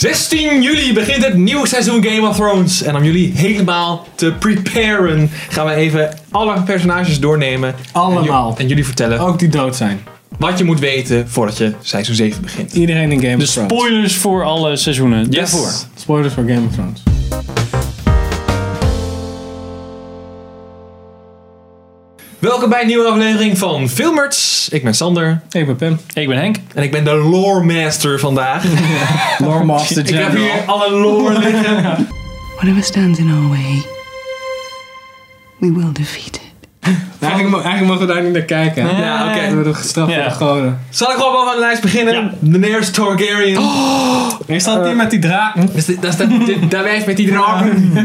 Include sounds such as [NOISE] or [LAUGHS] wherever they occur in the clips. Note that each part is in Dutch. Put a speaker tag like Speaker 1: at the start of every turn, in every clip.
Speaker 1: 16 juli begint het nieuwe seizoen Game of Thrones. En om jullie helemaal te preparen, gaan we even alle personages doornemen. En,
Speaker 2: Allemaal.
Speaker 1: ju- en jullie vertellen
Speaker 2: Ook die dood zijn.
Speaker 1: wat je moet weten voordat je seizoen 7 begint.
Speaker 2: Iedereen in Game
Speaker 3: De
Speaker 2: of Thrones.
Speaker 3: spoilers voor alle seizoenen.
Speaker 1: Yes.
Speaker 3: Daarvoor.
Speaker 2: Spoilers voor Game of Thrones.
Speaker 1: Welkom bij een nieuwe aflevering van Filmerts. Ik ben Sander
Speaker 2: Ik ben Pim.
Speaker 3: Ik ben Henk.
Speaker 1: en ik ben de lore master vandaag.
Speaker 2: Lore Master
Speaker 1: ik heb hier
Speaker 2: General.
Speaker 1: alle lore liggen.
Speaker 4: Whatever stands in our way, we will defeat it.
Speaker 2: Nou, Eigenlijk, mo- eigenlijk mogen we daar niet naar kijken.
Speaker 1: Ja, oké.
Speaker 2: We worden gestraft
Speaker 3: Ja.
Speaker 2: door de goden.
Speaker 1: Zal ik gewoon bovenaan de lijst beginnen?
Speaker 3: Ja.
Speaker 1: De nearest Targaryen.
Speaker 2: Is dat die met die draken?
Speaker 1: Dus dit- dat is dat- dit- daar wijst met die draken.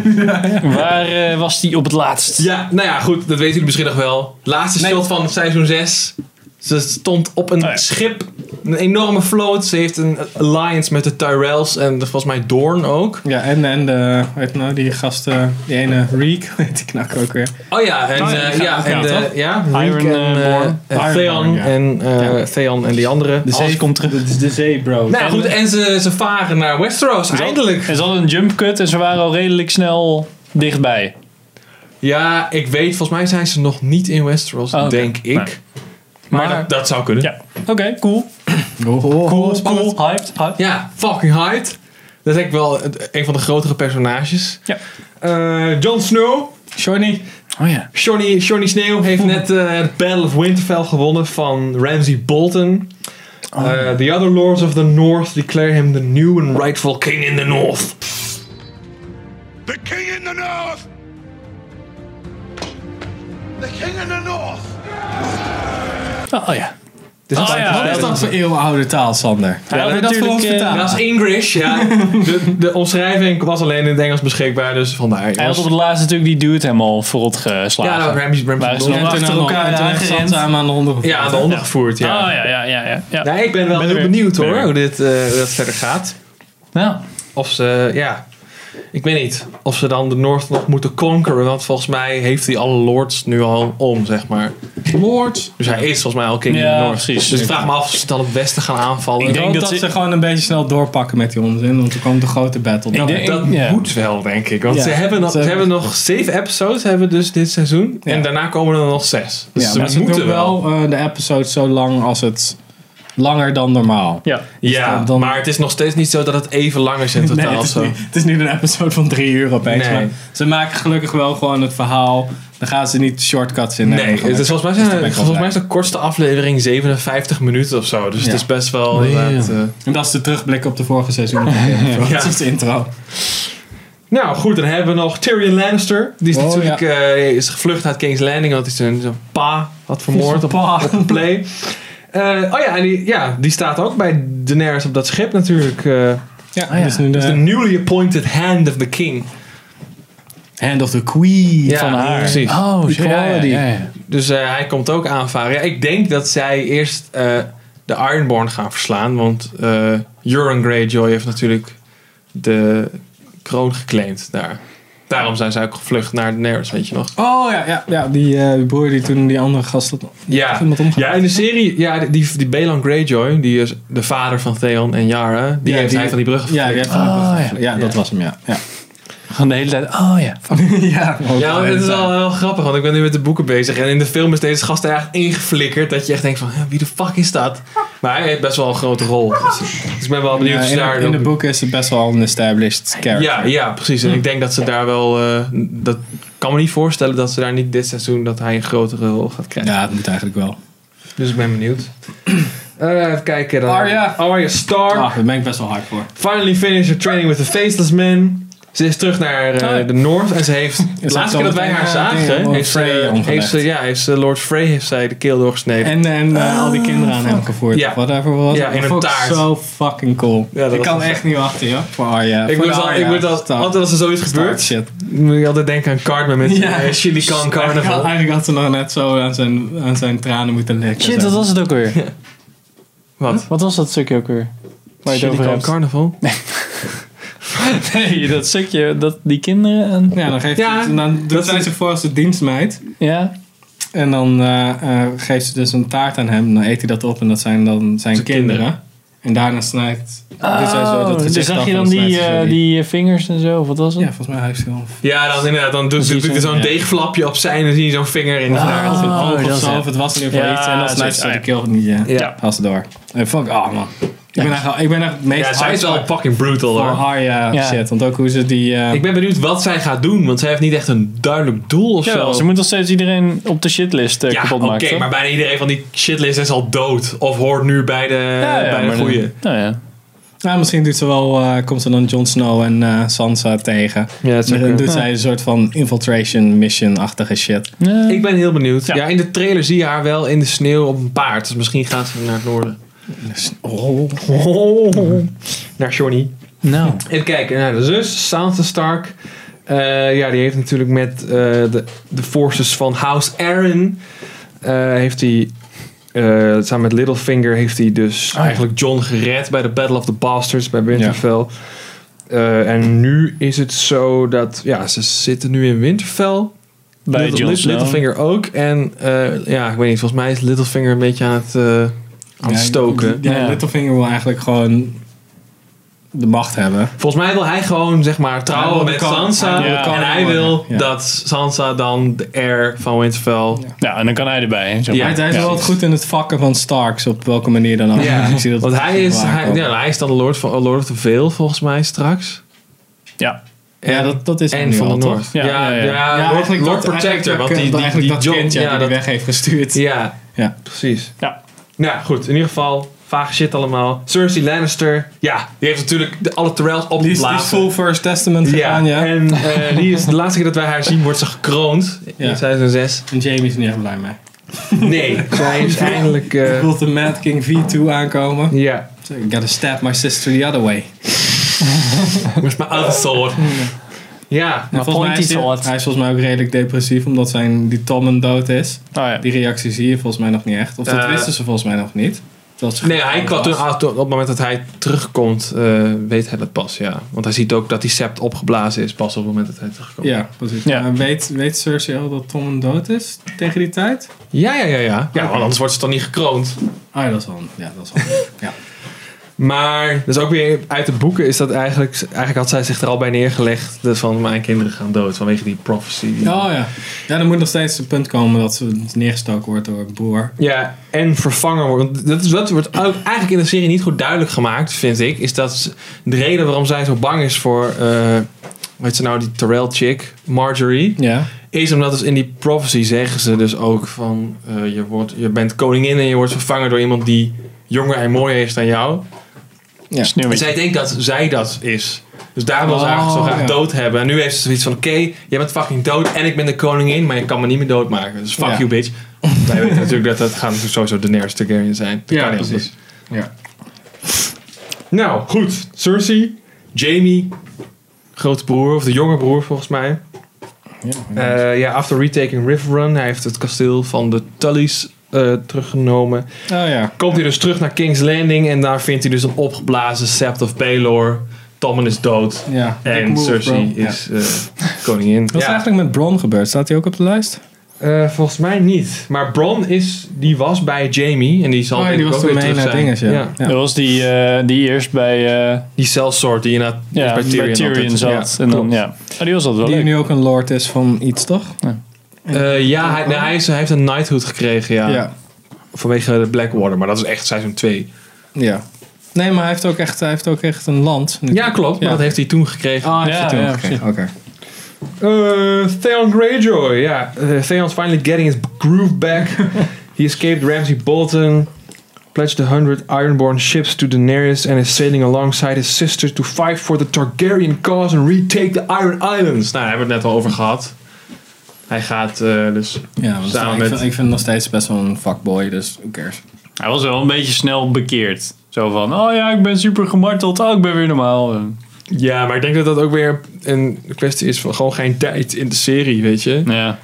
Speaker 3: Waar eh, was die op het laatst?
Speaker 1: Ja, nou ja, goed, dat weten jullie misschien nog wel. Laatste
Speaker 2: Nee.
Speaker 1: shot van seizoen 6. Ze stond op een
Speaker 3: Oh ja.
Speaker 1: schip, een enorme vloot. Ze heeft een alliance met de Tyrells en volgens mij Dorn ook.
Speaker 2: Ja, en, en de, weet je nou, die gasten, die ene Reek, [LAUGHS] weet die knak ook weer.
Speaker 1: Oh ja, en,
Speaker 3: Oh ja,
Speaker 1: eh,
Speaker 3: die
Speaker 1: ja,
Speaker 3: gaat
Speaker 1: en
Speaker 3: elkaar,
Speaker 1: de,
Speaker 3: toch?
Speaker 1: ja,
Speaker 3: Iron,
Speaker 1: Reek en,
Speaker 3: eh,
Speaker 1: eh,
Speaker 3: Born.
Speaker 1: en
Speaker 2: Iron
Speaker 1: Theon
Speaker 2: Born, ja.
Speaker 1: en eh,
Speaker 2: Ja.
Speaker 1: Theon en die andere.
Speaker 2: De
Speaker 3: Alles komt terug.
Speaker 2: Dit is de zee, bro.
Speaker 1: Nou ja, goed, en ze, ze varen naar Westeros,
Speaker 3: Ze hadden-
Speaker 1: eindelijk.
Speaker 3: En ze hadden een jump cut en ze waren al redelijk snel dichtbij.
Speaker 1: Ja, ik weet, volgens mij zijn ze nog niet in Westeros,
Speaker 3: Oh, oké.
Speaker 1: denk ik.
Speaker 3: Maar-
Speaker 1: Maar,
Speaker 3: maar-
Speaker 1: dat, dat zou kunnen.
Speaker 3: Ja. Oké, cool.
Speaker 2: Oh, oh, oh,
Speaker 3: Cool,
Speaker 2: spannend.
Speaker 3: cool. Hyped. hyped.
Speaker 1: Ja, fucking hyped. Dat is echt wel het- een van de grotere personages.
Speaker 3: Ja.
Speaker 1: Eh, Jon Snow, Johnny,
Speaker 3: Oh ja.
Speaker 1: Johnny, Johnny Snow heeft net eh, het Battle of Winterfell gewonnen van Ramsay Bolton.
Speaker 3: Oh.
Speaker 1: Eh, the other lords of the north declare him the new and rightful king in the north.
Speaker 5: The king in the north! The king in the north!
Speaker 3: Oh, oh ja.
Speaker 1: Dus
Speaker 3: Oh ja,
Speaker 2: Wat is dat voor
Speaker 1: dat,
Speaker 2: eeuwenoude taal, Sander?
Speaker 3: Hij
Speaker 2: Hebben
Speaker 3: had
Speaker 2: we dat voor ons
Speaker 3: natuurlijk, eh,
Speaker 2: vertaald?
Speaker 1: dat is English, ja. De, de omschrijving was alleen in het Engels beschikbaar, dus vandaar.
Speaker 3: Hij had op
Speaker 1: jongens.
Speaker 3: het laatst natuurlijk die dude helemaal verrot geslagen.
Speaker 1: Ja, dat was Ramsay- Ramsay
Speaker 3: Waar is
Speaker 1: Bolton.
Speaker 3: nog
Speaker 2: En
Speaker 3: achter
Speaker 2: toen aan de-
Speaker 3: elkaar
Speaker 2: en toen echt
Speaker 3: aangerend.
Speaker 2: zat ze aan de honden
Speaker 1: Ja, aan de hond gevoerd, ja.
Speaker 3: Oh ja, ja, ja. ja, ja.
Speaker 1: Nou, ik ben wel
Speaker 3: Ben
Speaker 1: heel
Speaker 3: er weer.
Speaker 1: benieuwd
Speaker 3: Ben
Speaker 1: hoor,
Speaker 3: er
Speaker 1: hoe dit, eh, hoe dat verder gaat.
Speaker 3: Nou,
Speaker 1: Of ze, ja, ik weet niet. Of ze dan de North nog moeten conqueren. Want volgens mij heeft hij alle lords nu al om, zeg maar.
Speaker 2: Lord.
Speaker 1: Dus hij is volgens mij al King in
Speaker 3: Ja,
Speaker 1: de North.
Speaker 3: precies.
Speaker 1: Dus ik vraag me af of ze dan het Westen gaan aanvallen.
Speaker 3: Ik
Speaker 2: Ik denk dat, ze... gewoon een beetje snel doorpakken met die onzin, want er komt de grote battle. Nou,
Speaker 3: Ik
Speaker 2: Dan-
Speaker 3: denk-
Speaker 1: dat
Speaker 3: ja.
Speaker 1: moet wel, denk ik. Want
Speaker 2: Ja,
Speaker 1: ze, hebben nog,
Speaker 2: ze
Speaker 1: ze hebben nog zeven episodes hebben dus dit seizoen.
Speaker 2: Ja.
Speaker 1: En daarna komen er nog zes. Dus
Speaker 2: ja,
Speaker 1: ze
Speaker 2: maar ze
Speaker 1: moeten
Speaker 2: doen wel eh, de episode zo lang als het... Langer dan normaal.
Speaker 3: ja.
Speaker 1: Ja,
Speaker 2: Dus dan-
Speaker 1: maar het is nog steeds niet zo dat het even lang is in totaal.
Speaker 2: Nee, het, is
Speaker 1: zo.
Speaker 2: nu, het is nu een episode van drie uur opeens.
Speaker 1: Nee.
Speaker 2: Maar ze maken gelukkig wel gewoon het verhaal. Dan gaan ze niet shortcuts in.
Speaker 1: Nee, het is, volgens, mij
Speaker 2: Dus daar
Speaker 1: zijn,
Speaker 2: ben ik wel
Speaker 1: volgens mij is de kortste aflevering 57 minuten of zo. Dus
Speaker 2: Ja.
Speaker 1: het is best wel. inderdaad, eh,
Speaker 2: En dat is de terugblik op de vorige
Speaker 1: [LAUGHS]
Speaker 2: seizoen. ja. Dat is de intro.
Speaker 1: Nou goed, dan hebben we nog Tyrion Lannister. Die is
Speaker 2: Oh,
Speaker 1: natuurlijk eh, is gevlucht uit King's Landing, want hij zijn, zijn pa had vermoord op,
Speaker 2: Pa.
Speaker 1: op een play. Eh, oh ja, en die, ja, die staat ook bij Daenerys op dat schip natuurlijk. eh
Speaker 2: Ja, dat is nu
Speaker 1: dus de
Speaker 2: de
Speaker 1: newly appointed hand of the king.
Speaker 2: Hand of the Queen.
Speaker 1: Ja,
Speaker 3: van haar.
Speaker 1: precies.
Speaker 3: Oh, shit. Ja, ja,
Speaker 2: Equality.
Speaker 3: ja, ja.
Speaker 1: Dus eh, hij komt ook aanvaren. Ja, ik denk dat zij eerst eh, de Ironborn gaan verslaan. Want eh Euron Greyjoy heeft natuurlijk de kroon geclaimd daar. Daarom zijn zij ook gevlucht naar Daenerys, weet je nog.
Speaker 2: Oh ja, ja, ja die eh, die broer die toen die andere gast had.
Speaker 1: Ja.
Speaker 2: iemand omgehaald.
Speaker 1: ja, in de serie, ja, die, die, die Belan Greyjoy, die is de vader van Theon en Yara, die
Speaker 2: Ja,
Speaker 1: heeft
Speaker 2: die-
Speaker 1: hij van die brug
Speaker 2: Ja, die heeft van die
Speaker 3: Oh,
Speaker 2: brug- ja, dat
Speaker 1: Ja.
Speaker 2: was hem, ja. Ja,
Speaker 3: Gewoon de hele tijd. Oh ja.
Speaker 2: ja,
Speaker 1: Ja, want het is wel heel grappig, want ik ben nu met de boeken bezig. En in de film is deze gast er echt ingeflikkerd. Dat je echt denkt van, hè, wie de fuck is dat? Maar hij heeft best wel een grote rol. Dus, dus ik ben wel benieuwd
Speaker 2: Ja,
Speaker 1: of ze daar...
Speaker 2: in, in de
Speaker 1: ook-
Speaker 2: boeken is het best wel een established character.
Speaker 1: ja, ja, precies. En ik denk dat ze daar wel... eh, dat kan me niet voorstellen dat ze daar niet dit seizoen... dat hij een grotere rol gaat krijgen.
Speaker 2: ja, dat moet eigenlijk wel.
Speaker 1: Dus ik ben benieuwd. [CLEARS THROAT] Eh, even kijken dan.
Speaker 2: Arya.
Speaker 1: Arya Stark.
Speaker 2: Ah, daar ben ik best wel hard voor.
Speaker 1: Finally finished her training with the Faceless Man. Ze is terug naar eh,
Speaker 3: Oh ja.
Speaker 1: de North en ze heeft... De
Speaker 2: ze
Speaker 1: laatste keer
Speaker 2: heeft
Speaker 1: dat wij
Speaker 2: al
Speaker 1: haar
Speaker 2: meteen, eh, dingen
Speaker 1: zagen,
Speaker 2: Lord
Speaker 1: heeft
Speaker 2: Frey
Speaker 1: ze, heeft
Speaker 2: omgelegd.
Speaker 1: ze, ja, heeft ze Lord Frey heeft zij de keel doorgesneden.
Speaker 2: En, en eh, al die kinderen aan hem gevoerd.
Speaker 1: Ja.
Speaker 2: of Whatever was.
Speaker 1: Ja,
Speaker 2: het.
Speaker 1: in
Speaker 2: Dat
Speaker 1: een
Speaker 2: vond ik
Speaker 1: taart.
Speaker 2: Zo fucking cool.
Speaker 1: Ja, dat
Speaker 2: ik
Speaker 1: was
Speaker 2: kan
Speaker 1: wel
Speaker 2: echt niet wachten, joh. Voor Arya.
Speaker 1: ik
Speaker 2: Voor
Speaker 1: moet,
Speaker 2: de
Speaker 1: al,
Speaker 2: Arya.
Speaker 1: ik moet al,
Speaker 2: Stop.
Speaker 1: altijd als er zoiets
Speaker 2: Stop,
Speaker 1: gebeurt,
Speaker 2: shit.
Speaker 1: moet ik altijd denken aan Cartman met
Speaker 2: Ja.
Speaker 1: ja. chili con
Speaker 2: Eigenlijk had,
Speaker 1: carnaval.
Speaker 2: eigenlijk had ze nog net zo aan zijn, aan zijn tranen moeten likken.
Speaker 3: Shit,
Speaker 2: Zo.
Speaker 3: wat was het ook weer?
Speaker 1: Wat?
Speaker 3: Wat was dat stukje ook weer? Waar je het
Speaker 1: Chili
Speaker 3: over
Speaker 1: con
Speaker 3: hebt?
Speaker 1: carnaval?
Speaker 3: Nee, dat stukje, dat die kinderen en...
Speaker 2: Ja, dan geeft
Speaker 1: Ja,
Speaker 2: ze, dan doet
Speaker 1: dat
Speaker 2: zij
Speaker 1: is-
Speaker 2: zich voor als de dienstmeid.
Speaker 3: Ja?
Speaker 2: En dan eh, eh, geeft ze dus een taart aan hem. Dan eet hij dat op en dat zijn dan zijn
Speaker 1: Zijn
Speaker 2: kinderen.
Speaker 1: kinderen.
Speaker 2: En daarna snijdt dit zijn zo dat
Speaker 3: dus
Speaker 2: gezicht
Speaker 3: zag
Speaker 2: dan
Speaker 3: je dan
Speaker 2: volgens mij
Speaker 3: die,
Speaker 2: tussen
Speaker 3: eh, die eh, vingers en zo? Of wat was het?
Speaker 2: Ja, volgens mij heeft hij wel
Speaker 1: Ja, dan inderdaad. Dan doet
Speaker 3: zie je
Speaker 1: doet hij
Speaker 3: zo'n-
Speaker 1: zo'n
Speaker 3: ja.
Speaker 1: deegflapje opzij en dan zie je zo'n vinger in.
Speaker 3: Ah.
Speaker 2: een
Speaker 3: Oh,
Speaker 2: oog
Speaker 3: dat
Speaker 2: of
Speaker 3: is
Speaker 2: zo.
Speaker 3: het.
Speaker 2: Of het was in ieder geval
Speaker 3: Ja,
Speaker 2: iets. En dan snijdt
Speaker 3: zo,
Speaker 2: ze
Speaker 3: ja.
Speaker 2: de keel niet eh,
Speaker 1: Ja.
Speaker 2: als ze door. Eh, Fuck, oh man. Ik ben eigenlijk, ik ben eigenlijk het meest
Speaker 1: Ja, zij is wel
Speaker 2: hard
Speaker 1: fucking brutal
Speaker 2: voor
Speaker 1: hoor.
Speaker 2: Arya
Speaker 3: Ja.
Speaker 2: shit. Want ook hoe ze die... eh,
Speaker 1: Ik ben benieuwd wat zij gaat doen, want zij heeft niet echt een duidelijk doel of
Speaker 3: Jawel,
Speaker 1: zo.
Speaker 3: ze moet nog steeds iedereen op de shitlist eh,
Speaker 1: ja,
Speaker 3: kapot
Speaker 1: oké,
Speaker 3: maken. toch?
Speaker 1: maar bijna iedereen van die shitlist is al dood. Of hoort nu bij de,
Speaker 3: ja, ja,
Speaker 1: eh, bij de
Speaker 3: maar
Speaker 1: goeie.
Speaker 3: dan- Nou ja.
Speaker 2: nou, misschien doet ze wel, eh, komt ze dan Jon Snow en eh, Sansa tegen.
Speaker 1: Ja, dat
Speaker 2: En dan doet
Speaker 3: Ja.
Speaker 2: zij een soort van infiltration mission-achtige shit.
Speaker 3: Nee.
Speaker 1: Ik ben heel benieuwd. Ja.
Speaker 3: eh, Ja.
Speaker 1: in de trailer zie je haar wel in de sneeuw op een paard. Dus misschien gaat ze naar het noorden.
Speaker 2: Oh.
Speaker 3: Oh.
Speaker 1: Naar Johnny.
Speaker 3: Nou.
Speaker 1: Even kijken naar de zus, Sansa Stark. Eh, ja, die heeft natuurlijk met eh, de, de forces van House Aaron. heeft hij. eh, samen met Littlefinger heeft hij
Speaker 3: Ah,
Speaker 1: dus eigenlijk John gered bij de Battle of the Bastards bij Winterfell. Eh, en nu is het zo dat. Ja, ze zitten nu in Winterfell.
Speaker 3: Bij
Speaker 1: Little-
Speaker 3: Jon
Speaker 1: Lit-
Speaker 3: Snow.
Speaker 1: Littlefinger ook. En eh, ja, ik weet niet, volgens mij is Littlefinger een beetje aan het, eh, aan het stoken.
Speaker 2: Ja,
Speaker 3: Ja.
Speaker 2: Littlefinger wil eigenlijk gewoon de macht hebben.
Speaker 1: Volgens mij wil hij gewoon, zeg maar,
Speaker 2: Hij
Speaker 1: trouwen
Speaker 2: wil de
Speaker 1: met
Speaker 2: koning-
Speaker 1: Sansa.
Speaker 2: hij wil de
Speaker 1: En
Speaker 2: koning
Speaker 1: hij wil
Speaker 2: worden, ja.
Speaker 1: dat Sansa dan de heir van Winterfell...
Speaker 3: Ja, en dan kan hij erbij. Zeg
Speaker 1: Ja,
Speaker 2: hij,
Speaker 3: maar.
Speaker 2: hij is wel wat goed in het vakken van Starks, op welke manier dan ook.
Speaker 1: Ja,
Speaker 2: [LAUGHS] Ik zie dat
Speaker 1: want hij is,
Speaker 2: vaak
Speaker 1: hij,
Speaker 2: ook.
Speaker 1: ja, hij is dan de Lord, van, Lord of the Vale, volgens mij, straks.
Speaker 3: Ja.
Speaker 2: Ja, dat, dat is hem
Speaker 1: En
Speaker 2: nu
Speaker 1: van de
Speaker 2: al, toch?
Speaker 1: Noord.
Speaker 3: Ja, ja, ja.
Speaker 2: Ja,
Speaker 1: Lord,
Speaker 2: eigenlijk
Speaker 1: Lord
Speaker 2: dat-
Speaker 1: Protector.
Speaker 2: eigenlijk
Speaker 1: Want
Speaker 2: dat-
Speaker 1: die, die,
Speaker 2: eigenlijk
Speaker 1: die
Speaker 2: dat
Speaker 1: John,
Speaker 2: kindje
Speaker 1: ja,
Speaker 2: die
Speaker 1: dat-
Speaker 2: hij weg heeft gestuurd.
Speaker 1: ja,
Speaker 2: Ja.
Speaker 1: precies.
Speaker 3: Ja.
Speaker 1: Nou ja, goed, in ieder geval, vage shit allemaal. Cersei Lannister, ja, die heeft natuurlijk de, alle Terrells op
Speaker 2: Die
Speaker 1: het
Speaker 2: is, die is full First Testament gegaan, ja. En,
Speaker 1: en eh, die is, de laatste keer dat wij haar zien, wordt ze gekroond in
Speaker 2: Ja.
Speaker 1: 2006.
Speaker 2: Jamie is er niet echt blij mee.
Speaker 1: Nee, [LAUGHS] zij is eindelijk. eh,
Speaker 2: Ik wil de Mad King V2 aankomen.
Speaker 1: ja,
Speaker 2: So, I gotta stab my sister the other way.
Speaker 1: moest mijn oude sword. Ja,
Speaker 2: En volgens mij
Speaker 3: pointy
Speaker 2: is hij,
Speaker 3: sword.
Speaker 2: hij is volgens mij ook redelijk depressief, omdat zijn, die Tommen dood is.
Speaker 3: Oh, ja.
Speaker 2: Die reactie zie je volgens mij nog niet echt. Of dat
Speaker 1: Eh,
Speaker 2: wisten ze volgens mij nog niet. Dat ze
Speaker 1: nee,
Speaker 2: getrouwd
Speaker 1: hij kwam
Speaker 2: was.
Speaker 1: toen, ah, toen- op het moment dat hij terugkomt, eh, weet hij dat pas, ja. Want hij ziet ook dat die sept opgeblazen is pas op het moment dat hij terugkomt.
Speaker 2: Ja, precies.
Speaker 3: Ja.
Speaker 2: Maar weet, weet Cersei al dat Tommen dood is tegen die tijd?
Speaker 1: ja, ja, ja. ja. ja want anders wordt ze toch niet gekroond.
Speaker 2: Ah, ja, dat is wel... Ja, dat is wel... [LAUGHS] ja.
Speaker 1: Maar, dus ook weer uit de boeken is dat eigenlijk... Eigenlijk had zij zich er al bij neergelegd dus van mijn kinderen gaan dood vanwege die prophecy.
Speaker 2: Oh ja. Ja, er moet nog steeds een punt komen dat ze neergestoken wordt door een boer.
Speaker 1: Ja, en vervangen worden. Want Dat, is, dat wordt ook eigenlijk in de serie niet goed duidelijk gemaakt, vind ik. Is dat ze- de reden waarom zij zo bang is voor. eh hoe heet ze nou, die Terrell chick, Marjorie.
Speaker 2: Ja.
Speaker 1: Is omdat dus in die prophecy zeggen ze dus ook van. eh, je, wordt, je bent koningin en je wordt vervangen door iemand die jonger en mooier is dan jou.
Speaker 2: ja.
Speaker 1: En
Speaker 3: Sneeuwwitje.
Speaker 1: zij denkt dat zij dat is. Dus daar wil ze
Speaker 2: Oh,
Speaker 1: eigenlijk zo graag
Speaker 2: ja.
Speaker 1: dood hebben. En nu heeft ze zoiets van: oké, jij bent fucking dood en ik ben de koningin, maar je kan me niet meer doodmaken. Dus fuck
Speaker 2: Ja.
Speaker 1: you,
Speaker 2: [LAUGHS]
Speaker 1: bitch. Wij weten natuurlijk dat dat gaan natuurlijk sowieso de Daenerys Targaryen zijn. Dat
Speaker 2: Ja,
Speaker 1: kan niet
Speaker 2: precies.
Speaker 1: anders.
Speaker 2: Ja.
Speaker 1: Nou, goed. Cersei, Jamie, grote broer, of de jonge broer volgens mij. Eh, ja, after retaking Riverrun, hij heeft het kasteel van de Tullys eh, teruggenomen.
Speaker 2: Oh ja.
Speaker 1: Komt hij dus terug naar King's Landing en daar vindt hij dus een opgeblazen Sept of Baelor. Tommen is dood.
Speaker 2: Ja. Dick
Speaker 1: En
Speaker 2: move,
Speaker 1: Cersei
Speaker 2: bro.
Speaker 1: is eh, koningin.
Speaker 2: Wat is er
Speaker 1: Ja.
Speaker 2: eigenlijk met Bron gebeurd? Staat hij ook op de lijst?
Speaker 1: Eh, volgens mij niet. Maar Bron is, die was bij Jamie. En die zal
Speaker 2: Oh ja,
Speaker 1: denk
Speaker 2: die
Speaker 1: ik
Speaker 2: was
Speaker 1: ook
Speaker 2: toen
Speaker 1: weer
Speaker 2: mee
Speaker 1: terug
Speaker 2: naar
Speaker 1: zijn.
Speaker 2: dinges, ja.
Speaker 1: Ja.
Speaker 2: ja.
Speaker 3: Dat was die, eh, die eerst bij, eh,
Speaker 1: Die sellsort die inderdaad
Speaker 3: ja, bij
Speaker 1: bij
Speaker 3: Tyrion,
Speaker 1: Tyrion, altijd-
Speaker 3: zat.
Speaker 1: Ja,
Speaker 3: en dan,
Speaker 1: klopt.
Speaker 3: ja. Oh, die was altijd wel
Speaker 2: Die
Speaker 3: leuk.
Speaker 2: nu ook een lord is van iets, toch?
Speaker 1: Eh, ja, hij, nee, hij, is- hij heeft een knighthood gekregen, ja.
Speaker 2: ja.
Speaker 1: Vanwege de Blackwater, maar dat is echt seizoen 2.
Speaker 2: Ja. Nee, maar hij heeft ook echt, hij heeft ook echt een land.
Speaker 1: Ja, klopt, maar
Speaker 2: Ja.
Speaker 1: dat heeft hij toen gekregen.
Speaker 2: Ah,
Speaker 3: Ja,
Speaker 2: ja,
Speaker 3: ja,
Speaker 2: ja,
Speaker 3: precies.
Speaker 2: oké.
Speaker 1: Uh, Theon Greyjoy, ja. Eh, Theon's finally getting his groove back. He escaped Ramsay Bolton, pledged the hundred Ironborn ships to Daenerys, and is sailing alongside his sisters to fight for the Targaryen cause and retake the Iron Islands. Nou, daar hebben we het net al over gehad. Hij gaat eh, dus
Speaker 2: Ja, want
Speaker 1: Samen
Speaker 2: ik,
Speaker 1: met-
Speaker 2: vind, ik vind hem nog steeds best wel een fuckboy, dus who cares.
Speaker 3: Hij was wel een beetje snel bekeerd. Zo van, oh ja, ik ben super gemarteld. Oh, ik ben weer normaal. Eh,
Speaker 1: Ja, maar ik denk dat dat ook weer een kwestie is van gewoon geen tijd in de serie, weet je.
Speaker 3: Ja.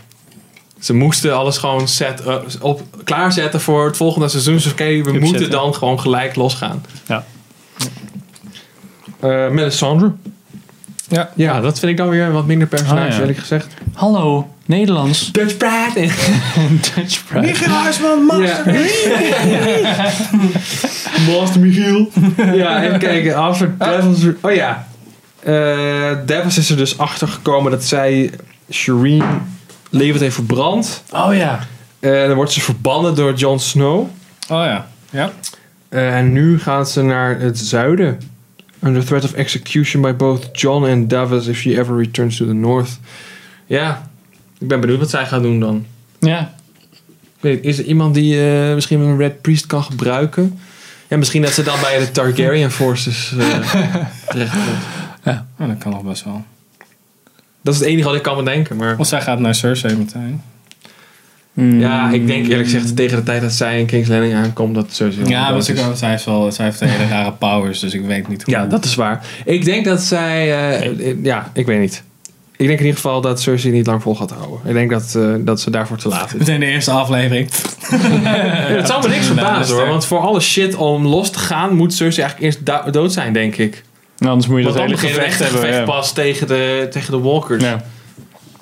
Speaker 1: Ze moesten alles gewoon set, eh, op, klaarzetten voor het volgende seizoen. Dus oké, we
Speaker 3: Opzetten.
Speaker 1: moeten dan gewoon gelijk losgaan.
Speaker 3: Ja.
Speaker 1: Eh Melisandre.
Speaker 2: Ja.
Speaker 1: ja, dat vind ik dan weer een wat minder personage,
Speaker 3: Ah, ja.
Speaker 1: eerlijk gezegd.
Speaker 3: Hallo. Nederlands.
Speaker 1: Dutch Pride.
Speaker 3: Dutch Pride.
Speaker 2: Michiel
Speaker 1: [LAUGHS]
Speaker 2: Huisman, master.
Speaker 1: Master Michiel. ja, even kijken. After Devils... Oh ja. Eh, Devils is er dus achter gekomen dat zij Shireen levend heeft verbrand.
Speaker 3: Oh ja.
Speaker 1: Eh, dan wordt ze verbannen door Jon Snow.
Speaker 2: Oh ja. Ja.
Speaker 1: Eh, en nu gaan ze naar het zuiden. Under threat of execution by both John and Davos if she ever returns to the north. Ja, ik ben benieuwd wat zij gaat doen dan.
Speaker 3: Ja.
Speaker 1: Ik weet, niet, is er iemand die eh, misschien een Red Priest kan gebruiken? Ja, misschien dat ze dan bij de Targaryen forces eh [LAUGHS] terecht komt.
Speaker 2: Oh, dat kan nog best wel.
Speaker 1: Dat is het enige wat ik kan bedenken. Maar
Speaker 2: Want zij gaat naar Cersei meteen.
Speaker 1: ja, ik denk eerlijk gezegd tegen de tijd dat zij in King's Landing aankomt, dat sowieso. wel
Speaker 2: Ja,
Speaker 1: dood
Speaker 2: want
Speaker 1: is.
Speaker 2: ik, zij, heeft wel, zij heeft hele rare powers, dus ik weet niet hoe.
Speaker 1: Ja, dat is waar. Ik denk dat zij. eh, eh, Ja, ik weet niet. Ik denk in ieder geval dat Cersei niet lang vol gaat houden. Ik denk dat, eh, dat ze daarvoor te laat is. [LAUGHS]
Speaker 2: Meteen de eerste aflevering.
Speaker 1: het zou me niks verbazen hoor. Want voor alle shit om los te gaan, moet Cersei eigenlijk eerst da- dood zijn, denk ik.
Speaker 3: Nou, anders moet je
Speaker 1: Want
Speaker 3: dat
Speaker 1: dan
Speaker 3: hele
Speaker 1: begint het
Speaker 3: gevecht
Speaker 1: echt een
Speaker 3: hebben.
Speaker 1: gevecht
Speaker 3: ja.
Speaker 1: pas tegen de, tegen de walkers.
Speaker 3: Ja.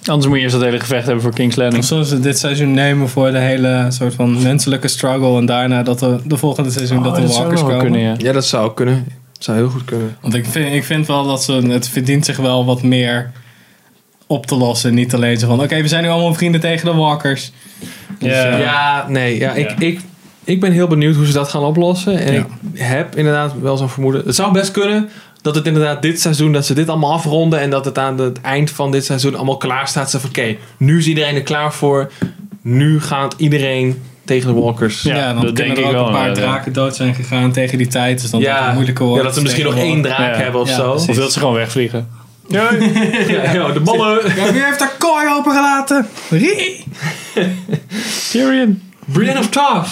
Speaker 3: Anders moet je eerst dat hele gevecht hebben voor King's
Speaker 2: Of
Speaker 3: Landing.
Speaker 2: zullen ze dit seizoen nemen voor de hele soort van menselijke struggle en daarna dat de, de volgende seizoen
Speaker 3: Oh,
Speaker 2: Oh, dat de walkers komen?
Speaker 3: ja.
Speaker 1: Ja, dat zou kunnen. Zou heel goed kunnen.
Speaker 2: Want ik vind, ik vind wel dat ze, het verdient zich wel wat meer op te lossen. Niet alleen zo van, oké, we zijn nu allemaal vrienden tegen de walkers.
Speaker 1: Ja,
Speaker 3: Ja.
Speaker 1: Dus, eh, nee. Ja, ik,
Speaker 3: Ja.
Speaker 1: Ik, ik ben heel benieuwd hoe ze dat gaan oplossen. En
Speaker 2: Ja.
Speaker 1: ik heb inderdaad wel zo'n vermoeden. Het zou best kunnen dat het inderdaad dit seizoen, dat ze dit allemaal afronden. En dat het aan het eind van dit seizoen allemaal klaar staat. Zo van, oké, nu is iedereen er klaar voor. Nu gaat iedereen tegen de walkers.
Speaker 3: Ja,
Speaker 2: Ja,
Speaker 3: dat
Speaker 2: dan
Speaker 3: denk
Speaker 2: kunnen
Speaker 3: ik
Speaker 2: er ook
Speaker 3: wel,
Speaker 2: een paar
Speaker 3: ja, ja.
Speaker 2: draken dood zijn gegaan tegen die tijd. Dus dan dat het
Speaker 1: ja,
Speaker 2: moeilijker wordt.
Speaker 1: ja, dat ze misschien nog één draak
Speaker 3: Ja.
Speaker 1: hebben of
Speaker 2: Ja,
Speaker 1: zo.
Speaker 2: precies.
Speaker 3: Of dat ze gewoon wegvliegen.
Speaker 1: Ja, ja, [LAUGHS] ja, de ballen.
Speaker 2: Ja, wie heeft haar kooi opengelaten? Rie!
Speaker 3: Tyrion.
Speaker 1: Brienne of Tarth.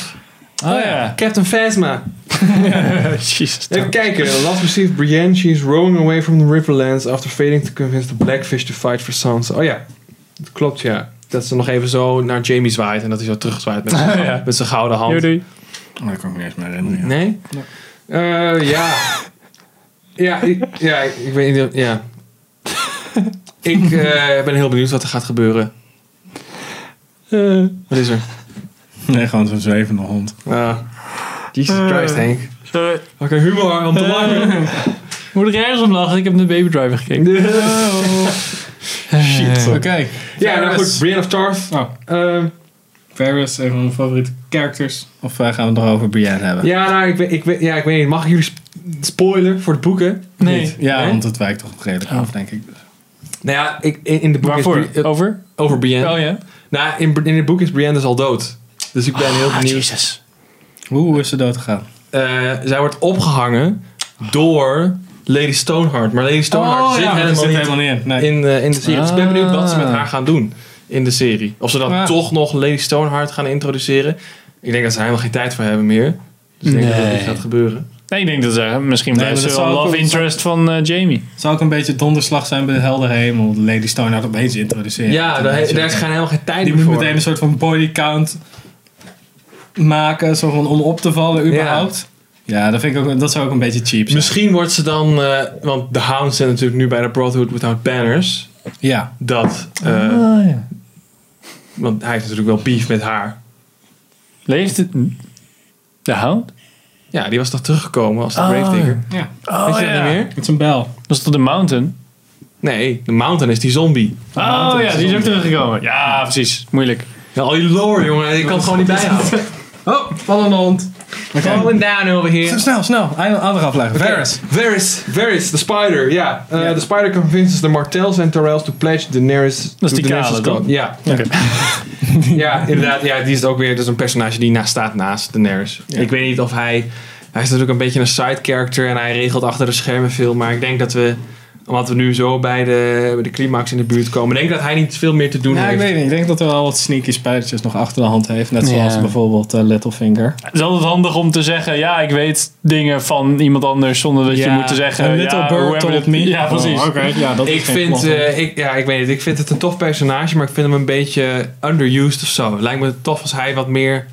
Speaker 3: Oh ja.
Speaker 1: Captain
Speaker 3: [LAUGHS]
Speaker 1: Phasma.
Speaker 3: Jezus.
Speaker 1: Even kijken. Last received Brienne. She is rowing away from the Riverlands after failing to convince the Blackfish to fight for Sansa. Oh ja, dat klopt ja. Dat ze nog even zo naar Jamie zwaait en dat hij zo terugzwaait met
Speaker 3: [LAUGHS]
Speaker 1: zijn,
Speaker 3: Ja.
Speaker 1: met zijn gouden hand.
Speaker 3: Doei, doei.
Speaker 2: Oh, dat kan ik me niet eens meer herinneren. ja.
Speaker 1: Nee? Eh, ja. ja, ik, ja, ik ik weet niet. Ja. ik eh, ben heel benieuwd wat er gaat gebeuren.
Speaker 3: Eh,
Speaker 1: Wat is er?
Speaker 2: Nee, gewoon zo'n zwevende hond.
Speaker 1: Ah. Jesus Christ, Henk.
Speaker 3: Eh. sorry. Eh.
Speaker 1: Oké, humor om te lachen.
Speaker 3: Moet ik ergens om lachen? Ik heb naar Baby Driver gekeken.
Speaker 2: Shit. Oké.
Speaker 1: ja, nou
Speaker 2: Varys.
Speaker 1: goed. Brienne of Tarth.
Speaker 2: Oh,
Speaker 1: Ehm,
Speaker 2: Varys, een van mijn favoriete characters. Of eh, gaan we het nog over Brienne hebben?
Speaker 1: Ja, nou, ik, weet- ik, weet- ja, ik weet niet. Mag ik jullie sp- spoilen voor de boeken?
Speaker 3: Nee.
Speaker 2: Niet. Ja,
Speaker 1: Nee?
Speaker 2: want het wijkt toch redelijk af, denk ik.
Speaker 1: Nou ja, ik, in, in de boeken is
Speaker 3: Waarvoor?
Speaker 1: Bri- eh,
Speaker 3: Over?
Speaker 1: over Brienne.
Speaker 3: Oh ja.
Speaker 1: Nou, in, in het boek is Brienne dus al dood. Dus ik ben heel benieuwd.
Speaker 3: Oh, Jezus.
Speaker 2: Hoe is ze dood gegaan?
Speaker 1: Eh, zij wordt opgehangen door Lady Stoneheart. Oh, Maar Lady Stoneheart
Speaker 3: Oh,
Speaker 1: zit
Speaker 2: dat
Speaker 1: helemaal
Speaker 2: zit
Speaker 1: niet
Speaker 2: helemaal niet in. Nee.
Speaker 1: in, eh, in de serie. Dus ik ben benieuwd wat ze met haar gaan doen in de serie. Of ze dan
Speaker 2: Ah.
Speaker 1: toch nog Lady Stoneheart gaan introduceren. Ik denk dat ze er helemaal geen tijd voor hebben meer. Dus ik denk dat dat
Speaker 3: Nee.
Speaker 1: niet gaat gebeuren.
Speaker 3: Nee, ik denk dat ze misschien
Speaker 2: Nee,
Speaker 3: blijft
Speaker 2: maar
Speaker 3: ze
Speaker 2: dat
Speaker 3: wel
Speaker 2: zou ook
Speaker 3: love
Speaker 2: wel-
Speaker 3: interest van eh, Jamie.
Speaker 2: Zou ook een beetje donderslag zijn bij de heldere hemel. Lady Stoneheart opeens introduceren.
Speaker 1: Ja,
Speaker 2: Dat
Speaker 1: daar,
Speaker 2: mensen-
Speaker 1: daar is geen- helemaal geen tijd
Speaker 2: Die
Speaker 1: meer
Speaker 2: moet
Speaker 1: voor.
Speaker 2: meteen een soort van body count maken. Zo van om op te vallen überhaupt. Ja, dat, vind ik ook, dat zou ook een beetje cheap zijn.
Speaker 1: Misschien wordt ze dan, eh, want de Hounds zijn natuurlijk nu bij de Brotherhood Without Banners.
Speaker 2: Ja.
Speaker 1: Dat, eh,
Speaker 3: Ah, ja.
Speaker 1: want hij heeft natuurlijk wel beef met haar.
Speaker 3: Leeft het? De hound?
Speaker 1: Ja, die was toch teruggekomen als de
Speaker 3: Ah.
Speaker 1: Grave Digger.
Speaker 2: ja.
Speaker 3: Oh,
Speaker 1: Weet je dat niet meer?
Speaker 2: Het is een bel.
Speaker 3: Dat is toch de mountain?
Speaker 1: Nee, de Mountain is die zombie.
Speaker 3: Oh ja, die is ook teruggekomen. Ja, precies. Moeilijk.
Speaker 1: Ja, al die lore, jongen, ik kan het gewoon niet bijhouden.
Speaker 2: [LAUGHS] Oh, vallende hond.
Speaker 1: Falling down over
Speaker 2: Snel,
Speaker 1: here.
Speaker 2: Snel, snel. Eind- Andere aflevering. Varys.
Speaker 1: Varys, Varys, the spider, ja. Eh,
Speaker 2: Ja.
Speaker 1: The spider convinces the Martells and Tyrells to pledge Daenerys
Speaker 3: Dat is
Speaker 1: to
Speaker 3: die
Speaker 1: Daenerys'
Speaker 3: kale,
Speaker 1: cause.
Speaker 3: toch? [LAUGHS]
Speaker 1: Ja,
Speaker 3: Oké.
Speaker 1: Ja, inderdaad. Ja, die is het ook weer. Dus een personage die na staat naast Daenerys. Ik weet niet of hij. Hij is natuurlijk een beetje een side character en hij regelt achter de schermen veel. Maar ik denk dat we, omdat we nu zo bij de, bij de climax in de buurt komen, denk ik dat hij niet veel meer te doen
Speaker 2: Ja, ik
Speaker 1: heeft.
Speaker 2: weet niet. Ik denk dat er wel wat sneaky spijtjes nog achter de hand heeft. Net zoals
Speaker 3: Ja.
Speaker 2: bijvoorbeeld eh, Littlefinger.
Speaker 3: Het is altijd handig om te zeggen, ja, ik weet dingen van iemand anders zonder dat je
Speaker 1: Ja,
Speaker 3: moet te zeggen.
Speaker 2: En Little
Speaker 3: ja, hoe
Speaker 2: Bird
Speaker 3: hebben
Speaker 2: told
Speaker 3: dit-
Speaker 2: me.
Speaker 3: Ja, precies.
Speaker 2: Oh, oké. ja, dat is
Speaker 1: Ik
Speaker 2: geen
Speaker 1: vind,
Speaker 2: plot.
Speaker 1: eh, ik, ja, ik weet het. Ik vind het een tof personage, maar ik vind hem een beetje underused of zo. Lijkt me tof als hij wat meer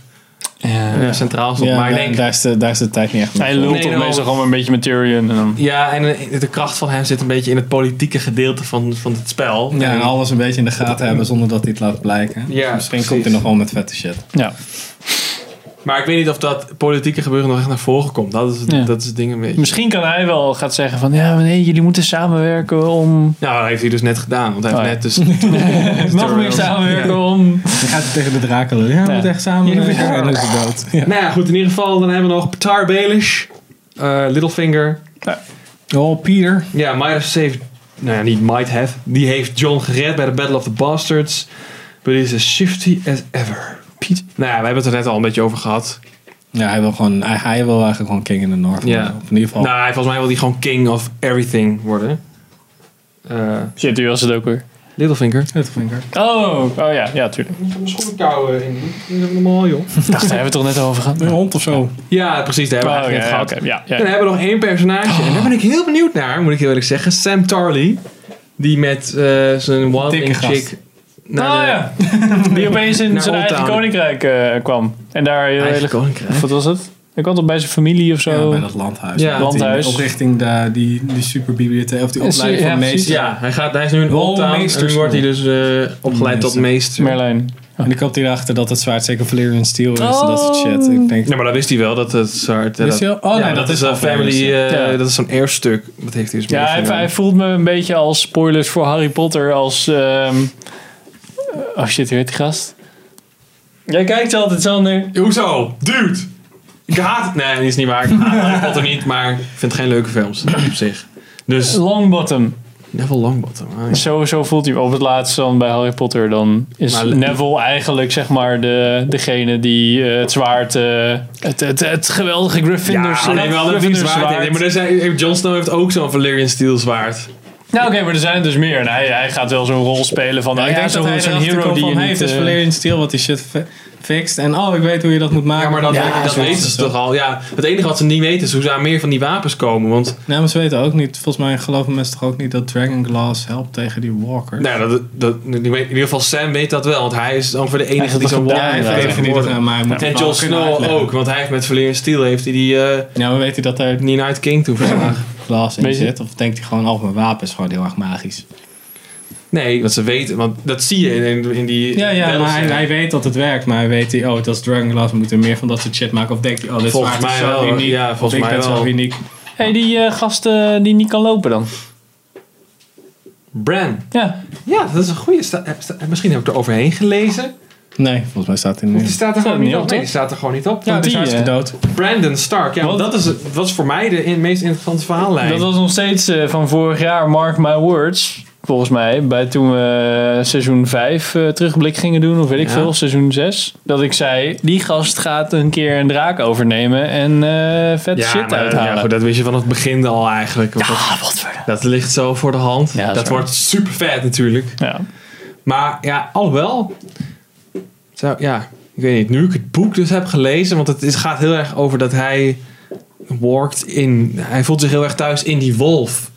Speaker 1: eh, centraal stond.
Speaker 2: Ja,
Speaker 1: maar ik
Speaker 2: nee,
Speaker 1: denk,
Speaker 2: daar, is de, daar is de tijd niet echt mee.
Speaker 3: Hij lult
Speaker 1: Nee,
Speaker 3: toch
Speaker 1: daarom.
Speaker 3: meestal gewoon een beetje met Tyrion. En dan,
Speaker 1: ja, en eh, de kracht van hem zit een beetje in het politieke gedeelte van, van het spel.
Speaker 2: Ja, en
Speaker 1: En-
Speaker 2: alles een beetje in de gaten hebben zonder dat hij het laat blijken.
Speaker 1: Ja,
Speaker 2: Dus misschien
Speaker 1: precies.
Speaker 2: komt hij nog wel met vette shit.
Speaker 3: ja.
Speaker 1: Maar ik weet niet of dat politieke gebeuren nog echt naar voren komt. Dat is,
Speaker 3: Ja.
Speaker 1: dat is het ding een beetje.
Speaker 3: Misschien kan hij wel gaat zeggen van... Ja, maar nee, jullie moeten samenwerken om...
Speaker 1: Nou, dat heeft hij dus net gedaan. Want hij heeft
Speaker 3: Oh, ja.
Speaker 1: net dus...
Speaker 2: [LAUGHS]
Speaker 3: Nog meer samenwerken om...
Speaker 2: Dan gaat hij tegen de draken lullen. Ja, we
Speaker 3: Ja.
Speaker 2: moeten echt samen.
Speaker 1: Jullie
Speaker 2: werken.
Speaker 1: moeten-
Speaker 2: En dan is hij dood. Ja.
Speaker 1: nou ja, goed. In ieder geval, dan hebben we nog Tar Baelish. eh, Littlefinger.
Speaker 2: Oh, Peter.
Speaker 1: Ja, might have saved... Nou ja, niet might have. Die heeft John gered bij de Battle of the Bastards. But he's as shifty as ever. Piet. Nou ja, we hebben het er net al een beetje over gehad.
Speaker 2: Ja, hij wil, gewoon, hij, hij wil eigenlijk gewoon King in the North.
Speaker 1: Ja.
Speaker 2: worden. Of in ieder geval.
Speaker 1: Nou, hij, volgens mij wil hij gewoon king of everything worden. Eh,
Speaker 3: Shit, u was het ook weer.
Speaker 1: Littlefinger.
Speaker 2: Littlefinger.
Speaker 3: Oh, oh ja,
Speaker 2: [LAUGHS]
Speaker 3: ja, tuurlijk.
Speaker 1: Ik mijn schoenenkouwen in. Dat is normaal, joh.
Speaker 3: Ik dacht, daar hebben we het toch net over gehad?
Speaker 2: Een hond of zo.
Speaker 1: Ja, precies. Daar hebben we
Speaker 3: Oh,
Speaker 1: eigenlijk
Speaker 3: ja,
Speaker 1: net gehad.
Speaker 3: oké, ja, ja.
Speaker 1: En dan hebben we nog één personage. En daar ben ik heel benieuwd naar, moet ik heel eerlijk zeggen. Sam Tarly. Die met eh, zijn
Speaker 2: Dikke
Speaker 1: wildling
Speaker 2: gast.
Speaker 1: chick... Naar
Speaker 3: Nou
Speaker 1: de-
Speaker 3: ja, die opeens in
Speaker 1: Naar
Speaker 3: zijn
Speaker 1: Old
Speaker 3: eigen
Speaker 1: Town.
Speaker 3: koninkrijk eh, kwam. En daar heel
Speaker 1: Eigen
Speaker 3: hele-
Speaker 1: koninkrijk.
Speaker 3: Wat was het? Hij kwam toch bij zijn familie of
Speaker 2: Ja,
Speaker 3: zo?
Speaker 2: bij dat landhuis.
Speaker 1: Ja,
Speaker 2: Dat hij
Speaker 3: Oh. landhuis.
Speaker 2: Op richting de, die, die superbibliotheek. Of die
Speaker 3: Ja,
Speaker 2: opleiding
Speaker 3: ja,
Speaker 2: van
Speaker 3: precies.
Speaker 2: meester.
Speaker 1: Ja, hij, gaat, hij is nu een
Speaker 2: Oh,
Speaker 1: old town. En nu
Speaker 2: meesterschool.
Speaker 1: wordt hij dus eh, opgeleid tot
Speaker 2: Meester.
Speaker 1: meester.
Speaker 3: Merlijn.
Speaker 2: En ik komt hij erachter dat het zwaard zeker Valyrian Steel is. En dat soort shit.
Speaker 3: Oh.
Speaker 2: Ik denk,
Speaker 1: Ja, maar dat wist hij wel. Dat het soort... eh,
Speaker 2: Wist hij wel? Oh, nee,
Speaker 1: ja,
Speaker 2: dat is
Speaker 1: een
Speaker 2: al
Speaker 1: family... eh,
Speaker 2: geweest,
Speaker 3: ja.
Speaker 1: Dat is zo'n erfstuk. Dat heeft hij dus
Speaker 3: Ja, hij,
Speaker 1: meegenomen.
Speaker 3: hij voelt me een beetje als spoilers voor Harry Potter. Als. ehm oh shit, hoe heet die gast? Jij kijkt altijd, Sander.
Speaker 1: Hoezo? Dude! Ik haat het. Nee, dat is niet waar. Ik haat Harry Potter niet, maar ik vind het geen leuke films op zich. Dus
Speaker 3: Longbottom.
Speaker 1: Neville Longbottom. ah, ja.
Speaker 3: Zo, zo voelt hij op het laatst dan bij Harry Potter. Dan is
Speaker 1: Maar-
Speaker 3: Neville eigenlijk zeg maar de, degene die eh, het zwaard. eh, het, het, het geweldige Gryffindor
Speaker 1: Ja, alleen wel dat hij zwaard heeft. Maar er zijn, Jon Snow heeft ook zo'n Valyrian Steel zwaard.
Speaker 3: Nou oké, maar er zijn er dus meer. En hij, hij gaat wel zo'n rol spelen van...
Speaker 2: ik
Speaker 3: ik
Speaker 2: denk
Speaker 3: denk
Speaker 2: dat
Speaker 3: zo'n
Speaker 2: hij
Speaker 3: zo'n
Speaker 2: erachter
Speaker 3: hero
Speaker 2: komt
Speaker 3: die je
Speaker 2: van, hey, het
Speaker 3: niet...
Speaker 2: is
Speaker 3: eh,
Speaker 2: Valyrian Steel wat die shit fi- fixt. En oh, ik weet hoe je dat moet maken.
Speaker 1: Ja, maar dat,
Speaker 2: Ja,
Speaker 1: dat
Speaker 2: zo
Speaker 1: weten
Speaker 2: is
Speaker 1: ze
Speaker 2: het
Speaker 1: toch al. Ja, het enige wat ze niet weten is hoe ze aan meer van die wapens komen. Want
Speaker 2: Nee, maar ze weten ook niet. Volgens mij geloven mensen toch ook niet dat Dragon Glass helpt tegen die walkers.
Speaker 1: nou, ja, dat, dat, in ieder geval Sam weet dat wel. Want hij is ongeveer de enige
Speaker 3: heeft
Speaker 1: die
Speaker 3: het
Speaker 1: zo'n
Speaker 3: gedaan,
Speaker 1: wapen
Speaker 3: ja,
Speaker 1: heeft
Speaker 3: hij heeft
Speaker 1: kunnen
Speaker 3: het
Speaker 1: vermoorden.
Speaker 2: maar hij moet
Speaker 1: En
Speaker 2: het
Speaker 1: Jon
Speaker 2: wel kunnen
Speaker 1: Snow
Speaker 2: uitleggen.
Speaker 1: ook. Want hij heeft met Valyrian Steel heeft hij die eh
Speaker 2: Ja, maar weet hij dat daar
Speaker 1: niet uit King toe verslagen.
Speaker 2: glas in
Speaker 3: Weet je-
Speaker 2: zit? Of denkt hij gewoon, oh, mijn wapen is gewoon heel erg magisch?
Speaker 1: Nee, want ze weten. Want dat zie je in, in, in die
Speaker 2: Ja, ja
Speaker 1: battles.
Speaker 2: maar hij, hij weet dat het werkt. Maar hij weet hij, oh, dat is Dragon Glass, we moeten meer van dat soort shit maken. Of denkt hij, oh, dit
Speaker 1: Volgens
Speaker 2: zwaard is
Speaker 1: mij
Speaker 2: zo
Speaker 1: wel,
Speaker 2: uniek.
Speaker 1: ja,
Speaker 2: of
Speaker 1: volgens
Speaker 2: ik
Speaker 1: mij
Speaker 2: ben zo
Speaker 1: wel.
Speaker 2: uniek.
Speaker 3: hey, die eh, gast eh, die niet kan lopen dan.
Speaker 1: Bran.
Speaker 3: Ja.
Speaker 1: Ja, dat is een goede. sta- eh, sta- eh, Misschien heb ik er overheen gelezen.
Speaker 2: Nee, volgens mij staat hij
Speaker 1: Die
Speaker 2: nu.
Speaker 1: staat er gewoon
Speaker 3: niet
Speaker 1: niet
Speaker 3: op,
Speaker 1: op. Nee,
Speaker 3: toch?
Speaker 1: die staat er gewoon niet op.
Speaker 2: Ja, dus
Speaker 3: die,
Speaker 2: hij is
Speaker 3: eh,
Speaker 2: gedood.
Speaker 1: Brandon Stark. Ja,
Speaker 3: Wat?
Speaker 1: dat is, dat was voor mij de in- meest interessante verhaallijn.
Speaker 3: Dat was nog steeds eh, van vorig jaar, Mark My Words. Volgens mij, bij toen we eh, seizoen 5 terugblik gingen doen, of weet ik
Speaker 1: Ja.
Speaker 3: veel, seizoen 6. Dat ik zei, die gast gaat een keer een draak overnemen en eh vet
Speaker 1: ja,
Speaker 3: shit
Speaker 1: maar,
Speaker 3: uithalen.
Speaker 1: Ja, goed, dat wist je van het begin al eigenlijk. Want dat,
Speaker 3: Ah, wat voor de-
Speaker 1: dat ligt zo voor de hand.
Speaker 3: Ja, dat
Speaker 1: dat
Speaker 3: is waar.
Speaker 1: wordt super vet natuurlijk.
Speaker 3: Ja.
Speaker 1: Maar ja, alhoewel. Zou, ja, ik weet niet. Nu ik het boek dus heb gelezen, want het is, gaat heel erg over dat hij walked in. Hij voelt zich heel erg thuis in die wolf.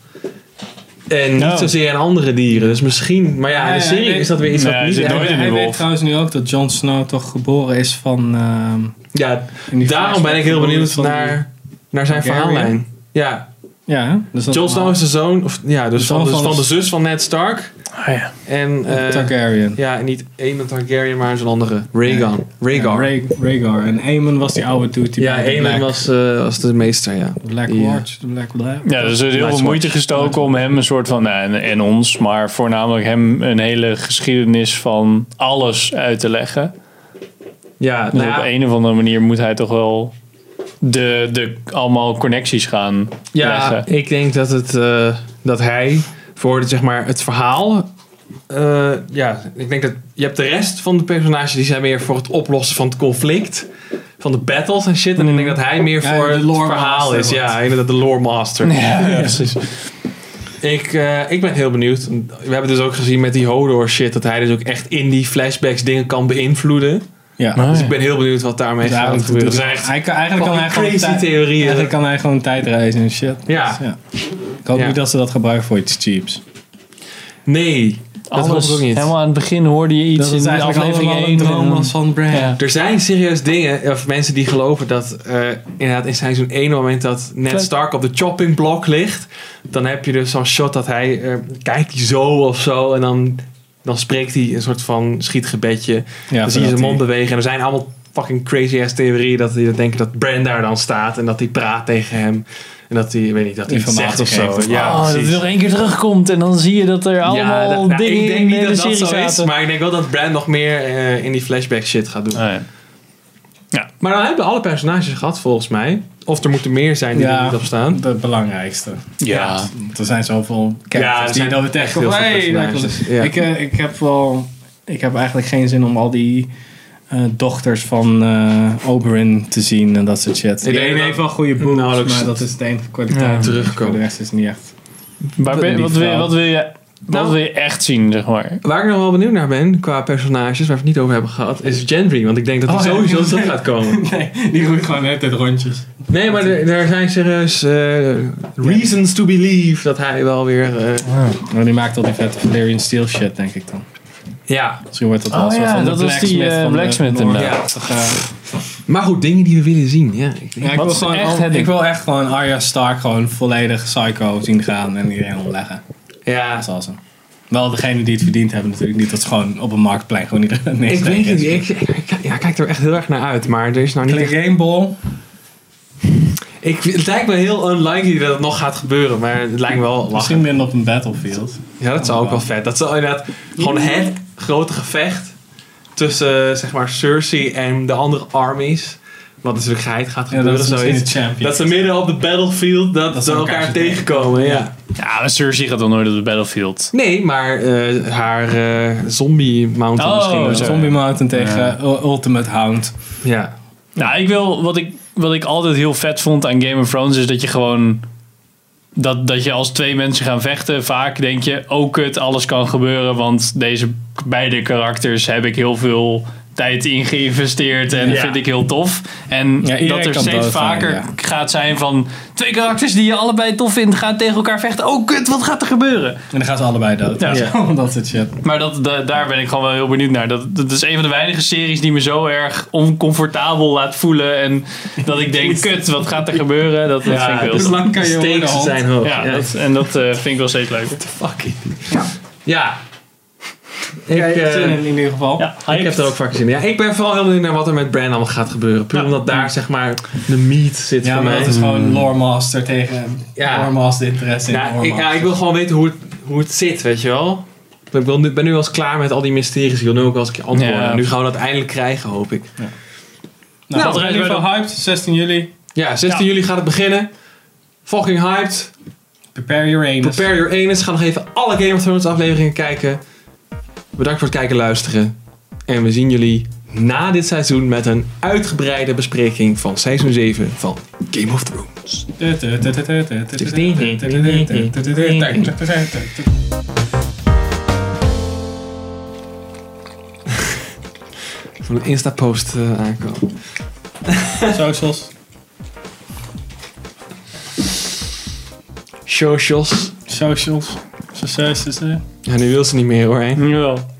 Speaker 1: En
Speaker 3: Oh.
Speaker 1: niet zozeer in andere dieren. Dus misschien. Maar ja, in de
Speaker 2: Ja, ja,
Speaker 1: serie
Speaker 2: nee.
Speaker 1: is dat weer iets
Speaker 3: Nee,
Speaker 1: wat
Speaker 3: hij
Speaker 1: niet.
Speaker 3: zit
Speaker 1: echt-
Speaker 2: Hij-
Speaker 3: nooit in die
Speaker 2: hij weet
Speaker 3: wolf.
Speaker 2: trouwens nu ook dat Jon Snow toch geboren is van... ehm,
Speaker 1: Ja,
Speaker 2: in die
Speaker 1: daarom ben ik heel
Speaker 2: flashback
Speaker 1: benieuwd
Speaker 2: van die-
Speaker 1: naar, naar zijn
Speaker 2: Targaryen.
Speaker 1: verhaallijn. Ja,
Speaker 2: Ja, hè? dus dat
Speaker 1: Jon Snow is de zoon, of, ja, dus
Speaker 2: De
Speaker 1: van,
Speaker 2: zoon
Speaker 1: de,
Speaker 2: van
Speaker 1: van
Speaker 2: de-
Speaker 1: de zus van Ned Stark.
Speaker 3: Ah, ja.
Speaker 1: En eh,
Speaker 2: Targaryen.
Speaker 1: ja, niet Aemon Targaryen, maar zo'n andere. Rhaegar. Rhaegar. Ja,
Speaker 2: Rha- Rhaegar. En Aemon was die oude dude. Die bij de
Speaker 1: Aemon
Speaker 2: Black-
Speaker 1: was, eh, was de meester, ja.
Speaker 2: Black
Speaker 1: Die, eh,
Speaker 2: Watch, de Black Black.
Speaker 3: Ja, dus er is heel
Speaker 1: Nightwatch.
Speaker 3: veel moeite gestoken om hem een soort van, nou, en, en ons, maar voornamelijk hem een hele geschiedenis van alles uit te leggen.
Speaker 1: Ja,
Speaker 3: Dus
Speaker 1: nou ja,
Speaker 3: op een of andere manier moet hij toch wel de, de allemaal connecties gaan
Speaker 1: ja,
Speaker 3: leggen.
Speaker 1: ik denk dat, het, eh, dat hij voor het, zeg maar, het verhaal... eh, ja, ik denk dat je hebt de rest van de personages die zijn meer voor het oplossen van het conflict, van de battles en shit. En ik denk
Speaker 3: Mhm.
Speaker 1: dat hij meer
Speaker 2: Ja,
Speaker 1: voor
Speaker 2: de
Speaker 1: het
Speaker 2: lore
Speaker 1: verhaal
Speaker 2: master
Speaker 1: is.
Speaker 2: wordt.
Speaker 1: Ja, inderdaad, de lore master.
Speaker 3: Ja, precies.
Speaker 1: Ik, eh, ik ben heel benieuwd. We hebben dus ook gezien met die Hodor shit dat hij dus ook echt in die flashbacks dingen kan beïnvloeden.
Speaker 2: Ja.
Speaker 1: Dus ik ben heel benieuwd wat daarmee
Speaker 2: Dus
Speaker 1: gaat
Speaker 2: eigenlijk-
Speaker 1: gebeuren.
Speaker 2: dus
Speaker 1: Dat zijn echt
Speaker 2: hij kan, eigenlijk, kan hij
Speaker 1: fucking
Speaker 2: gewoon
Speaker 1: crazy
Speaker 2: tijd- eigenlijk
Speaker 1: theorieën.
Speaker 2: kan hij gewoon tijdreizen en shit.
Speaker 1: Ja.
Speaker 2: Dus Ik hoop
Speaker 1: Ja.
Speaker 2: niet dat ze dat gebruiken voor iets cheaps.
Speaker 1: Nee, dat hoop
Speaker 3: Alles,
Speaker 1: ik ook niet.
Speaker 3: helemaal aan het begin hoorde je iets
Speaker 2: dat
Speaker 3: in
Speaker 2: is
Speaker 3: die
Speaker 2: eigenlijk
Speaker 3: aflevering
Speaker 2: allemaal
Speaker 3: 1.
Speaker 2: een droom
Speaker 3: en dan-
Speaker 2: was van Brad.
Speaker 3: Ja.
Speaker 1: Er zijn serieus dingen, of mensen die geloven dat eh, inderdaad in seizoen 1 op het moment dat Ned
Speaker 3: Klopt.
Speaker 1: Stark op de chopping block ligt, dan heb je dus zo'n shot dat hij, eh, kijkt hij zo of zo en dan, dan spreekt hij een soort van schietgebedje. dan zie je zijn mond bewegen en er zijn allemaal fucking crazy ass theorieën dat die denken dat Bran daar dan staat en dat hij praat tegen hem en dat hij, weet niet, dat hij iets
Speaker 2: Informatie
Speaker 1: zegt of zo.
Speaker 2: geeft.
Speaker 1: Ja,
Speaker 3: oh, dat
Speaker 1: precies.
Speaker 3: het nog één keer terugkomt en dan zie je dat er allemaal
Speaker 1: Ja, dat- nou,
Speaker 3: dingen
Speaker 1: ik denk
Speaker 3: in de
Speaker 1: niet
Speaker 3: hele
Speaker 1: dat dat
Speaker 3: serie
Speaker 1: zo is,
Speaker 3: zaten.
Speaker 1: maar ik denk wel dat Bran nog meer eh, in die flashback shit gaat doen.
Speaker 3: Nee.
Speaker 1: Maar dan hebben we alle personages gehad volgens mij. Of er moeten meer zijn die
Speaker 2: Ja.
Speaker 1: er niet op staan.
Speaker 2: De belangrijkste.
Speaker 3: Ja.
Speaker 2: Want er zijn zoveel
Speaker 1: Ja, er
Speaker 2: characters
Speaker 1: zijn
Speaker 2: die dat we echt
Speaker 1: heel veel personages, ja.
Speaker 2: ik, eh, ik heb wel... Ik heb eigenlijk geen zin om al die eh, dochters van eh Oberyn te zien en dat soort
Speaker 1: denk
Speaker 2: shit. De ene
Speaker 1: dat- Nou,
Speaker 2: heeft wel goede
Speaker 1: Nauwelijks-
Speaker 2: boobs, maar dat is het enige kwaliteit.
Speaker 1: Ja.
Speaker 2: Voor
Speaker 1: Terugkomen.
Speaker 2: de rest is het niet echt.
Speaker 3: Maar ben-
Speaker 1: Die
Speaker 3: wat, wil, je-
Speaker 1: vrouw.
Speaker 3: wat, wil je, wat
Speaker 1: Nou.
Speaker 3: wil je echt zien, zeg maar?
Speaker 1: Waar ik nog wel benieuwd naar ben, qua personages waar we het niet over hebben gehad, is Gendry. Want ik denk dat die
Speaker 2: Oh, ja.
Speaker 1: sowieso terug gaat
Speaker 2: [LAUGHS]
Speaker 1: komen.
Speaker 2: [LAUGHS] Nee, die roeit gewoon de hele tijd rondjes.
Speaker 1: Nee, maar er, er zijn serieus eh, reasons to believe dat hij wel weer... eh,
Speaker 2: Maar die maakt al die vette Valerian Steel shit, denk ik dan.
Speaker 1: ja.
Speaker 2: Misschien wordt dat wel
Speaker 3: Oh
Speaker 2: zo
Speaker 3: ja,
Speaker 2: van
Speaker 3: dat
Speaker 2: de
Speaker 3: was die,
Speaker 2: blacksmith
Speaker 3: eh,
Speaker 2: van
Speaker 3: blacksmith
Speaker 2: de
Speaker 3: inderdaad.
Speaker 2: Noordachtige-
Speaker 1: Maar goed, dingen die we willen zien. Ja, ik denk-
Speaker 2: eh, Ja, ik,
Speaker 3: Wat
Speaker 2: wil
Speaker 3: is
Speaker 2: gewoon
Speaker 3: echt
Speaker 2: al-
Speaker 3: het ding?
Speaker 2: ik wil echt gewoon Arya Stark gewoon volledig psycho zien gaan en iedereen omleggen.
Speaker 1: ja.
Speaker 2: Dat is awesome. Wel degene die het verdiend hebben natuurlijk. Niet dat ze gewoon op een marktplein gewoon iedereen
Speaker 1: Ik
Speaker 2: neersteken.
Speaker 1: weet het niet. Ik, ik- ja, ik kijk er echt heel erg naar uit. Maar er is nou niet
Speaker 2: Click
Speaker 1: echt...
Speaker 2: Game Ball.
Speaker 1: Ik, het lijkt me heel unlikely dat het nog gaat gebeuren. Maar het lijkt me wel lachen.
Speaker 2: Misschien ben op een battlefield.
Speaker 1: Ja, dat zou ook wel vet. Dat zou inderdaad gewoon
Speaker 2: Mm.
Speaker 1: het grote gevecht tussen eh, zeg maar Cersei en de andere armies. Wat natuurlijk geheid gaat
Speaker 2: Ja,
Speaker 1: gebeuren,
Speaker 2: dat is misschien de
Speaker 1: zoiets.
Speaker 2: champion.
Speaker 1: Dat ze midden op de battlefield dat,
Speaker 2: Dat
Speaker 1: ze
Speaker 2: ze
Speaker 1: elkaar,
Speaker 2: elkaar
Speaker 1: tegenkomen. Ja.
Speaker 3: Ja, maar Cersei gaat dan nooit op de battlefield.
Speaker 1: Nee, maar eh, haar eh, zombie mountain
Speaker 3: Oh,
Speaker 1: misschien. wel.
Speaker 3: zo.
Speaker 2: Zombie Mountain tegen
Speaker 3: Ja.
Speaker 2: eh, Ultimate Hound.
Speaker 1: Ja.
Speaker 3: Nou, ik wil, wat ik, wat ik altijd heel vet vond aan Game of Thrones is dat je gewoon. Dat, dat je als twee mensen gaan vechten, vaak denk je, oh kut, alles kan gebeuren. Want deze beide karakters heb ik heel veel tijd in geïnvesteerd en
Speaker 1: Ja.
Speaker 3: vind ik heel tof. En
Speaker 2: Ja, iedereen
Speaker 3: dat er
Speaker 2: kan
Speaker 3: steeds
Speaker 2: doodgaan,
Speaker 3: vaker
Speaker 2: ja.
Speaker 3: gaat zijn van twee karakters die je allebei tof vindt, gaan tegen elkaar vechten. Oh kut, wat gaat er gebeuren?
Speaker 2: En dan gaan ze allebei dood.
Speaker 3: Ja.
Speaker 2: [LAUGHS] dat soort shit.
Speaker 3: Maar dat, da- daar ben ik gewoon wel heel benieuwd naar. Dat, dat is een van de weinige series die me zo erg oncomfortabel laat voelen. En dat ik denk, kut, wat gaat er gebeuren? Dat, dat vind ik wel
Speaker 2: dus
Speaker 3: heel...
Speaker 2: lang kan je
Speaker 1: Stakes
Speaker 2: worden, hand.
Speaker 1: zijn hoog.
Speaker 3: Ja, dat, en dat eh, vind ik wel steeds leuk.
Speaker 1: fucking. Ja. Ik,
Speaker 2: Ik,
Speaker 1: eh,
Speaker 2: in ieder geval.
Speaker 3: Ja,
Speaker 1: ik heb er ook vaak zin in. Ja, ik ben vooral heel benieuwd naar wat er met Bran allemaal gaat gebeuren. Puur
Speaker 3: Ja.
Speaker 1: omdat daar zeg maar de meat zit
Speaker 2: Ja,
Speaker 1: voor
Speaker 2: maar
Speaker 1: mij.
Speaker 2: dat is gewoon
Speaker 3: Hmm.
Speaker 2: Lore Master tegen
Speaker 1: Ja.
Speaker 2: Lore Master interesse in
Speaker 3: Nou,
Speaker 1: Ja,
Speaker 2: Lore
Speaker 1: ik, ja,
Speaker 2: Master.
Speaker 1: ik wil gewoon weten hoe het, hoe het zit, weet je wel. Ik wil nu, ben nu wel eens klaar met al die mysteries. Ik wil nu ook wel eens een keer antwoorden.
Speaker 3: Ja.
Speaker 1: En Nu gaan we dat eindelijk krijgen, hoop ik.
Speaker 2: Nou,
Speaker 3: Nou,
Speaker 2: we zijn in ieder geval hyped. 16 juli.
Speaker 1: Ja, 16
Speaker 3: Ja.
Speaker 1: juli gaat het beginnen. Fucking hyped.
Speaker 2: Prepare your anus.
Speaker 1: Prepare your anus. Ga nog even alle Game of Thrones afleveringen kijken. Bedankt voor het kijken en luisteren. En we zien jullie na dit seizoen met een uitgebreide bespreking van seizoen 7 van Game of Thrones. Van een Insta-post eh, aankomen.
Speaker 2: Socials.
Speaker 1: Socials.
Speaker 2: Socials. Socials.
Speaker 1: Ja, nu wil ze niet meer hoor. Hè?
Speaker 3: Jawel.